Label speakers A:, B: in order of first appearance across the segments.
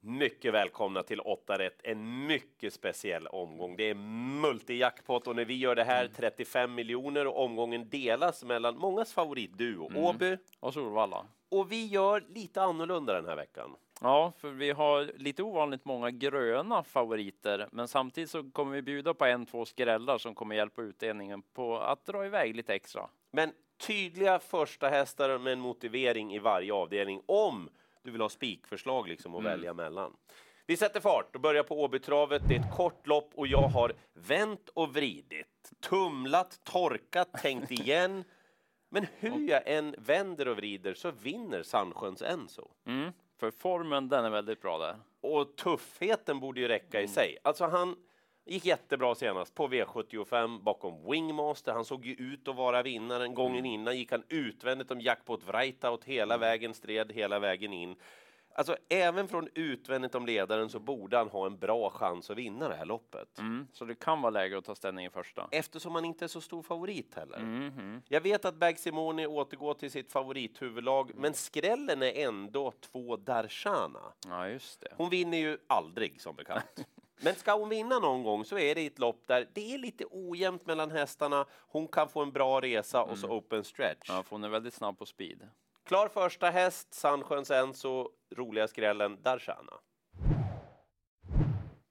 A: Mycket välkomna till 8 rätt, en mycket speciell omgång. Det är multi-jackpot och när vi gör det här 35 miljoner och omgången delas mellan mångas favoritduo, Åby.
B: Och Solvalla.
A: Och vi gör lite annorlunda den här veckan.
B: Ja, för vi har lite ovanligt många gröna favoriter, men samtidigt så kommer vi bjuda på en, två skrällar som kommer hjälpa utdelningen på att dra iväg lite extra.
A: Men tydliga första hästar med en motivering i varje avdelning om du vill ha spikförslag liksom att välja mellan. Vi sätter fart och börjar på Åbytravet. Det är ett kort lopp och jag har vänt och vridit, tumlat, torkat, tänkt igen. Men hur jag än vänder och vrider så vinner Sandsjöns Enzo.
B: Mm. För formen, den är väldigt bra där.
A: Och tuffheten borde ju räcka i sig. Alltså han gick jättebra senast på V75 bakom Wingmaster. Han såg ju ut att vara vinnaren. Gången innan gick han utvändigt om jackpot Wrightout hela vägen, stred hela vägen in. Alltså även från utvändigt om ledaren så borde han ha en bra chans att vinna det här loppet.
B: Mm. Så det kan vara läge att ta ställning i första.
A: Eftersom han inte är så stor favorit heller. Jag vet att Bag Simoni återgår till sitt favorithuvudlag, men skrällen är ändå två Darshana.
B: Ja, just det.
A: Hon vinner ju aldrig som bekant. Men ska hon vinna någon gång så är det i ett lopp där det är lite ojämnt mellan hästarna. Hon kan få en bra resa och så open stretch.
B: Ja, för hon är väldigt snabb på speed.
A: Klar första häst, Sandsjöns Enzo, roliga skrällen Darshana.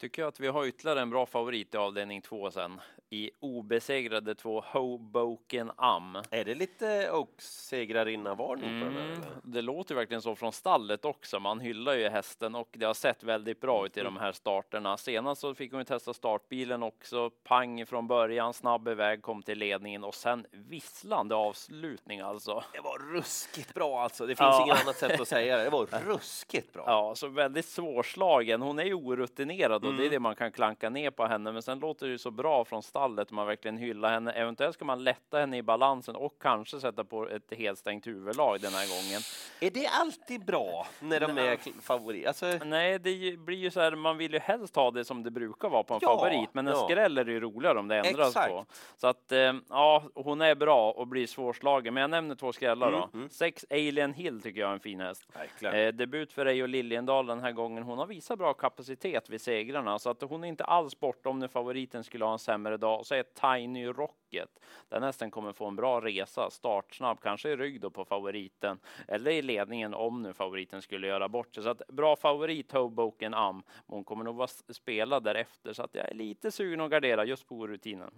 B: Tycker jag att vi har ytterligare en bra favorit i avdelning två sen. I obesegrade två Hoboken Am.
A: Är det lite Oaks-segrarinna-varning på den här?
B: Mm,
A: eller?
B: det låter ju verkligen så från stallet också. Man hyllar ju hästen och det har sett väldigt bra ut i de här starterna. Senast så fick hon ju testa startbilen också. Pang från början, snabb iväg, kom till ledningen och sen visslande avslutning alltså.
A: Det var ruskigt bra alltså. Det finns
B: Ja.
A: inget annat sätt att säga det. Det var ruskigt bra.
B: Ja, så väldigt svårslagen. Hon är ju orutinerad och det är det man kan klanka ner på henne. Men sen låter det ju så bra från stallet. Man verkligen hyllar henne. Eventuellt ska man lätta henne i balansen och kanske sätta på ett helstängt huvudlag den här gången.
A: Är det alltid bra när de är kl- favorit? Alltså,
B: Nej, det ju- blir ju så här. Man vill ju helst ha det som det brukar vara på en
A: Ja,
B: favorit, men en
A: ja.
B: skräll är ju roligare om det ändras
A: Exakt.
B: på. Så att eh, ja, hon är bra och blir svårslagen. Men jag nämner två skrällar
A: Mm,
B: då. Sex Alien Hill tycker jag är en fin häst.
A: Verkligen.
B: Eh, debut för Reijo Liljendahl den här gången. Hon har visat bra kapacitet vid segrarna så att hon är inte alls bortom när favoriten skulle ha en sämre dag. Och så är Tiny Rocket. Den hästen kommer få en bra resa, startsnabb, kanske i rygg då på favoriten eller i ledningen om nu favoriten skulle göra bort sig. Så att bra favorit Hoboken Am. Men Hon kommer nog vara s- spelad därefter så att jag är lite sugen att gardera just på rutinen.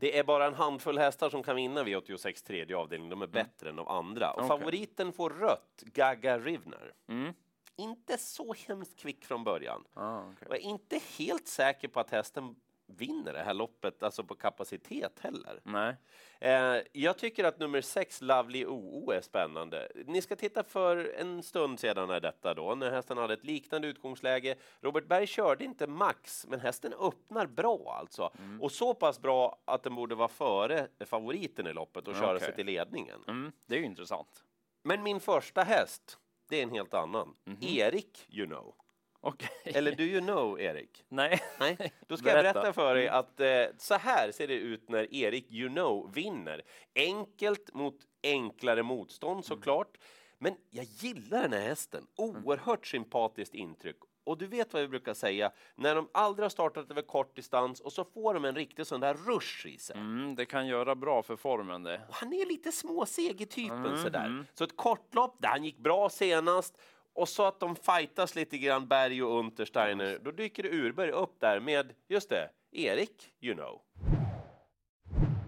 A: Det är bara en handfull hästar som kan vinna V86 tredje avdelning. De är bättre än de andra. Och
B: Mm. Okej.
A: favoriten får rött, Gaga Rivner.
B: Mm.
A: Inte så hemskt kvick från början.
B: Ah,
A: Och jag är inte helt säker på att hästen vinner det här loppet, alltså på kapacitet heller.
B: Nej.
A: Eh, jag tycker att nummer 6, Lovely OO, är spännande. Ni ska titta för en stund sedan är detta då, när hästen hade ett liknande utgångsläge. Robert Berg körde inte max, men hästen öppnar bra alltså. Och så pass bra att den borde vara före favoriten i loppet och köra
B: Okej.
A: sig till ledningen.
B: Mm, det är ju intressant.
A: Men min första häst, det är en helt annan. Erik, you know.
B: Okej.
A: Eller do you know, Erik?
B: Nej.
A: Nej, då ska jag
B: Berätta.
A: berätta för dig att eh, så här ser det ut när Erik You know vinner. Enkelt mot enklare motstånd såklart. Men jag gillar den här hästen. Oerhört sympatiskt intryck. Och du vet vad vi brukar säga, när de aldrig har startat över kort distans och så får de en riktig sån där rush i sig.
B: Mm, det kan göra bra för formen det.
A: Och han är lite småseg i typen sådär. Så ett kortlopp där han gick bra senast och så att de fightas lite grann, Berg och Untersteiner. Då dyker det Urberg upp där med, just det, Erik, you know.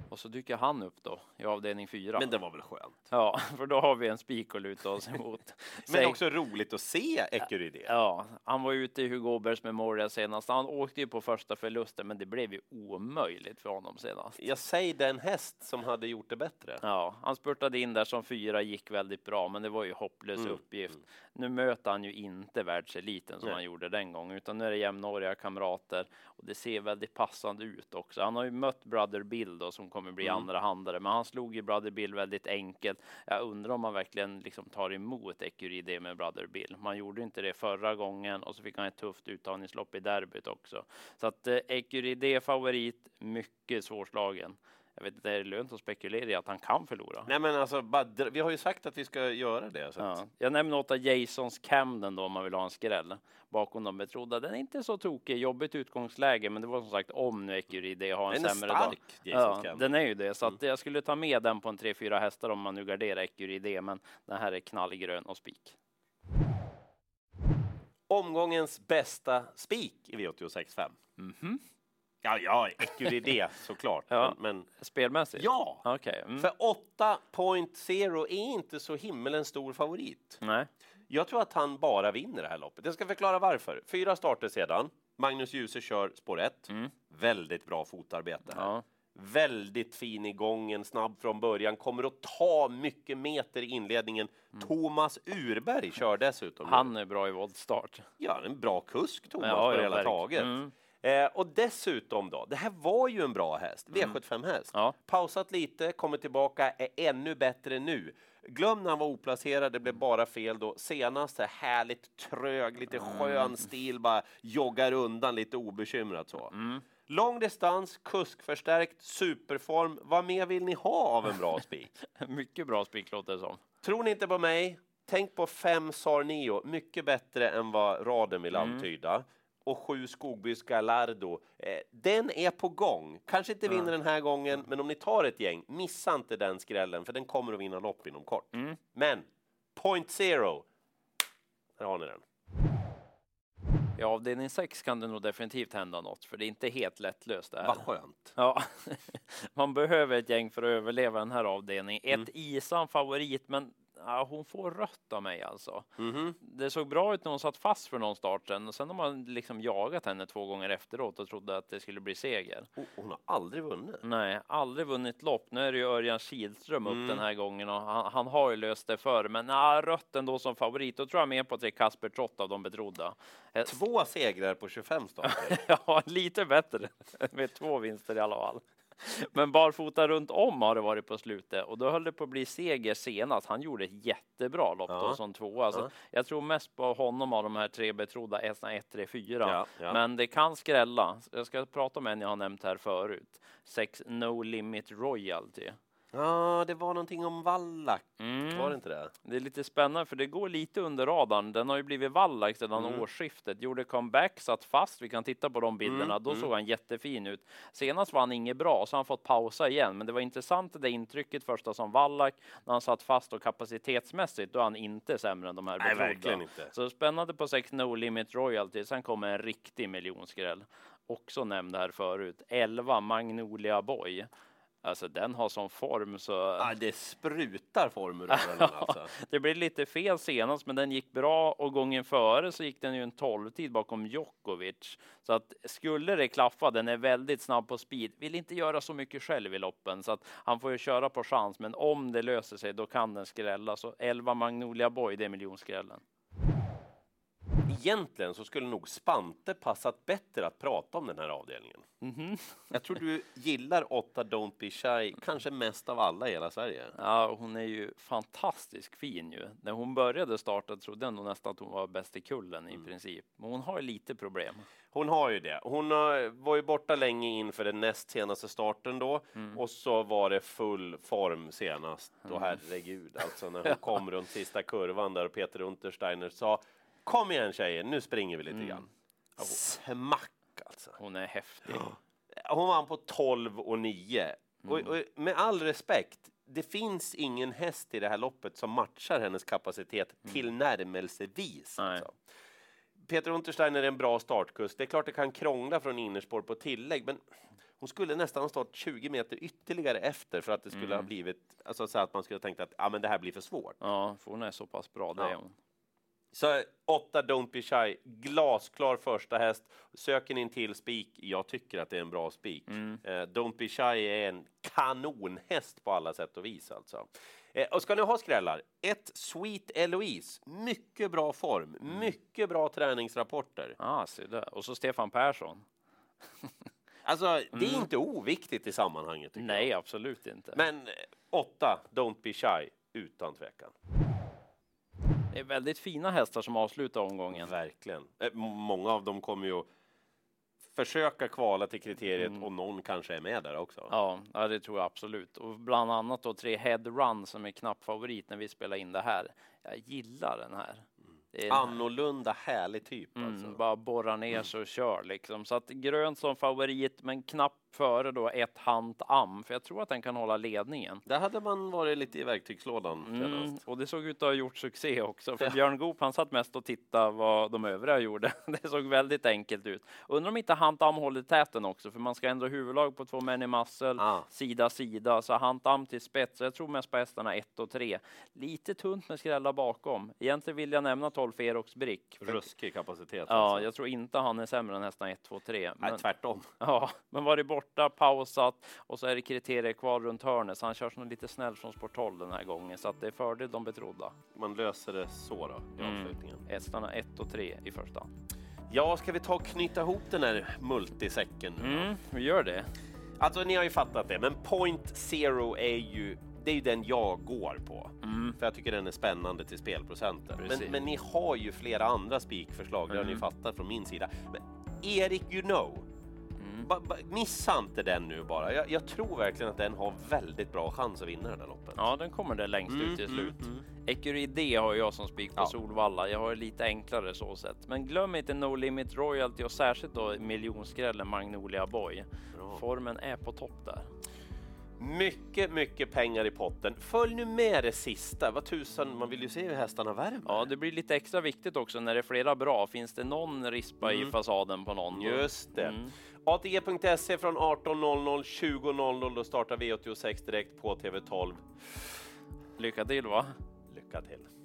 B: Och så dyker han upp då i avdelning fyra.
A: Men det var väl skönt?
B: Ja, för då har vi en spik att luta oss emot.
A: Men
B: Säg-
A: också roligt att se Ecurydé.
B: Ja, han var ute i Hugo Åbergs Memorial senast. Han åkte ju på första förlusten, men det blev ju omöjligt för honom senast.
A: Jag säger den häst som hade gjort det bättre.
B: Ja, han spurtade in där som fyra, gick väldigt bra, men det var ju hopplös uppgift. Nu möter han ju inte världseliten som
A: Nej.
B: han gjorde den gången, utan nu är det jämnåriga kamrater och det ser väldigt passande ut också. Han har ju mött Brother Bill då som kommer bli andra handare, men han slog ju Brother Bill väldigt enkelt. Jag undrar om man verkligen liksom tar emot Ecuride med Brother Bill. Man gjorde ju inte det förra gången och så fick han ett tufft uttagningslopp i derbyt också. Så att eh, Ecuride favorit, mycket svårslagen. Jag vet inte, är det lönt att spekulera i att han kan förlora?
A: Nej, men alltså, bara dra- vi har ju sagt att vi ska göra det. Så att,
B: Ja. Jag nämner åtta Jasons Camden då om man vill ha en skräll bakom de betrodda. Den är inte så tokig, jobbigt utgångsläge, men det var som sagt om nu Ecuride har en
A: Den är
B: sämre dag.
A: stark, Mm. Jason
B: ja,
A: Camden.
B: Den är ju det, så att jag skulle ta med den på en 3-4 hästar om man nu garderar Ecuride, men den här är knallgrön och spik.
A: Omgångens bästa spik i V86.5. Ja, ja, Ecuride såklart.
B: Ja.
A: Men, men
B: Spelmässigt?
A: ja,
B: Okej. Mm.
A: för 8.0 är inte så himmelen stor favorit.
B: Nej.
A: Jag tror att han bara vinner det här loppet. Jag ska förklara varför. Fyra starter sedan. Magnus Djuse kör spår 1. Väldigt bra fotarbete. Här.
B: Mm. Ja.
A: Väldigt fin i gången, snabb från början. Kommer att ta mycket meter i inledningen.
B: Mm.
A: Thomas Urberg kör dessutom.
B: Han är bra i voltstart.
A: Ja, en bra kusk, Thomas,
B: Ja,
A: på
B: ja,
A: det hela
B: verk-
A: taget.
B: Mm.
A: Eh, och dessutom då, det här var ju en bra häst, V75-häst.
B: Mm. Ja.
A: Pausat lite, kommer tillbaka, är ännu bättre nu. Glöm när han var oplacerad, det blev bara fel då. Senast så här härligt trög, lite
B: Mm.
A: skön stil, bara joggar undan lite obekymrat så.
B: Mm.
A: Lång distans, kuskförstärkt, superform. Vad mer vill ni ha av en bra spik?
B: Mycket bra spik låter det som.
A: Tror ni inte på mig? Tänk på fem Sarnio, mycket bättre än vad raden vill antyda. Och sju Skogbys Gallardo. Eh, den är på gång. Kanske inte vinner den här gången, men om ni tar ett gäng, missa inte den skrällen, för den kommer att vinna lopp inom kort. Men, point zero. Här har ni den.
B: I avdelning 6 kan det nog definitivt hända något, för det är inte helt lättlöst det här.
A: Vad skönt.
B: Ja, man behöver ett gäng för att överleva den här avdelningen. Ett Isan favorit, men ja, hon får rött av mig alltså. Det såg bra ut när hon satt fast för någon start sen och sen har man liksom jagat henne två gånger efteråt och trodde att det skulle bli seger.
A: Oh, hon har aldrig vunnit.
B: Nej, aldrig vunnit lopp. Nu är det ju Örjan Kihlström upp den här gången och han, han har ju löst det förr, men ja, rött ändå som favorit. Då tror jag mer på att det är Kasper Trott av de betrodda. Eh,
A: Två segrar på 25 starter.
B: Ja, lite bättre med två vinster i alla fall. Men barfota runt om har det varit på slutet och då höll det på att bli seger senast. Han gjorde ett jättebra lopp
A: Ja.
B: då som tvåa. Så
A: Ja.
B: Jag tror mest på honom av de här tre betrodda, hästarna 1, 3, 4.
A: Ja, ja.
B: Men det kan skrälla. Jag ska prata om en jag har nämnt här förut. 6 No Limit Royalty.
A: Ja, det var någonting om Wallach,
B: Mm.
A: var det inte det?
B: Det är lite spännande för det går lite under radarn. Den har ju blivit Wallach sedan
A: Mm.
B: årsskiftet, gjorde comeback, satt fast. Vi kan titta på de bilderna.
A: Mm,
B: Då såg han jättefin ut. Senast var han inget bra, så han fått pausa igen. Men det var intressant det där intrycket första som Wallach när han satt fast och kapacitetsmässigt, då är han inte sämre än de här
A: Nej,
B: betrodda.
A: verkligen inte.
B: Så spännande på 6 No Limit Royalty. Sen kommer en riktig miljonskräll. Också nämnd här förut. 11 Magnolia Boy. Alltså den har sån form så.
A: Ah, det sprutar form ur öronen alltså.
B: Det blev lite fel senast, men den gick bra och gången före så gick den ju en 12-tid bakom Djokovic. Så att skulle det klaffa, den är väldigt snabb på speed, vill inte göra så mycket själv i loppen så att han får ju köra på chans. Men om det löser sig, då kan den skrälla. Så 11 Magnolia Boy, det är miljonskrällen.
A: Egentligen så skulle nog Spante passat bättre att prata om den här avdelningen. Jag tror du gillar 8 Don't Be Shy kanske mest av alla i hela Sverige.
B: Ja, hon är ju fantastiskt fin ju. När hon började starta trodde jag nog nästan att hon var bäst i kullen i princip. Men hon har ju lite problem.
A: Hon har ju det. Hon har, var ju borta länge inför den näst senaste starten då och så var det full form senast. Och herregud, alltså när hon kom runt sista kurvan där och Peter Untersteiner sa Kom igen tjejer, nu springer vi lite grann. Smack alltså.
B: Hon är häftig.
A: Hon vann på 12 och 9. Och, och med all respekt, det finns ingen häst i det här loppet som matchar hennes kapacitet tillnärmelsevis.
B: Nej.
A: Alltså. Peter Untersteiner är en bra startkust. Det är klart det kan krångla från innerspår på tillägg, men hon skulle nästan ha stått 20 meter ytterligare efter för att det skulle ha blivit alltså, så att man skulle ha tänkt att ah, men det här blir för svårt.
B: Ja, för hon är så pass bra, det
A: Ja.
B: är hon.
A: Så 8 Don't Be Shy, glasklar första häst. Söker ni en till spik, jag tycker att det är en bra spik. Eh, Don't Be Shy är en kanonhäst på alla sätt och vis. Alltså. Eh, och ska ni ha skrällar, ett Sweet Eloise. Mycket bra form, mycket bra träningsrapporter.
B: Ah, se där. Och så Stefan Persson.
A: Alltså, det är inte oviktigt i sammanhanget. tycker
B: Nej, absolut inte.
A: jag. Men 8 Don't Be Shy, utan tvekan.
B: Det är väldigt fina hästar som avslutar omgången.
A: Verkligen. Eh, m- många av dem kommer ju att försöka kvala till kriteriet
B: Mm.
A: och någon kanske är med där också.
B: Ja, ja, det tror jag absolut. Och bland annat då tre head run som är knapp favorit när vi spelar in det här. Jag gillar den här. Det är-
A: Annorlunda härlig typ
B: Mm,
A: alltså.
B: Bara borra ner sig och kör liksom. Så att grönt som favorit, men knappt före då ett hand am, för jag tror att den kan hålla ledningen.
A: Där hade man varit lite i verktygslådan
B: Mm,
A: senast.
B: och det såg ut att ha gjort succé också, för
A: Ja.
B: Björn Goop han satt mest och tittade vad de övriga gjorde. Det såg väldigt enkelt ut. Undrar om inte Hantam håller täten också, för man ska ändra huvudlag på två män i muscle,
A: Ah.
B: sida sida, så Hantam till spets. Så Jag tror mest på hästarna 1 och 3. Lite tunt med skrällar bakom. Egentligen vill jag nämna 12 Ferox Brick. för-
A: Ruskig kapacitet.
B: Ja,
A: alltså.
B: jag tror inte han är sämre än hästarna 1, 2, 3.
A: Nej,
B: Men,
A: tvärtom.
B: ja, men var det borta, pausat och så är det kriterier kvar runt hörnet. Så han körs nog lite snäll från sport 12 den här gången. Så att det är fördel de betrodda.
A: Man löser det så då, i
B: Mm.
A: avslutningen.
B: Hästarna 1 och 3 i första hand.
A: Ja, ska vi ta och knyta ihop den här multisäcken nu?
B: Mm, vi gör det.
A: Alltså, ni har ju fattat det, men point zero är ju, det är ju den jag går på. För jag tycker den är spännande till spelprocenten.
B: Mm. Precis. Mm.
A: Men, men ni har ju flera andra spikförslag, det har ni fattat från min sida. Men Erik You Know,
B: Mm.
A: ba, ba, missa inte den nu bara. Jag, jag tror verkligen att den har väldigt bra chans att vinna den här loppet.
B: Ja, den kommer där längst ut till
A: Mm,
B: slut. Ecurie D har jag som spik på
A: Ja.
B: Solvalla. Jag har lite enklare så sett. Men glöm inte No Limit Royalty och särskilt då miljonskrällen Magnolia Boy.
A: Bra.
B: Formen är på topp där.
A: Mycket, mycket pengar i potten. Följ nu med det sista. Vad tusan, man vill ju se hur hästarna värmer.
B: Ja, det blir lite extra viktigt också när det är flera bra. Finns det någon rispa i fasaden på någon?
A: Just det.
B: Mm.
A: ATG.se E från 18.00, 20.00. Då startar V86 direkt på TV12.
B: Lycka till va?
A: Lycka till!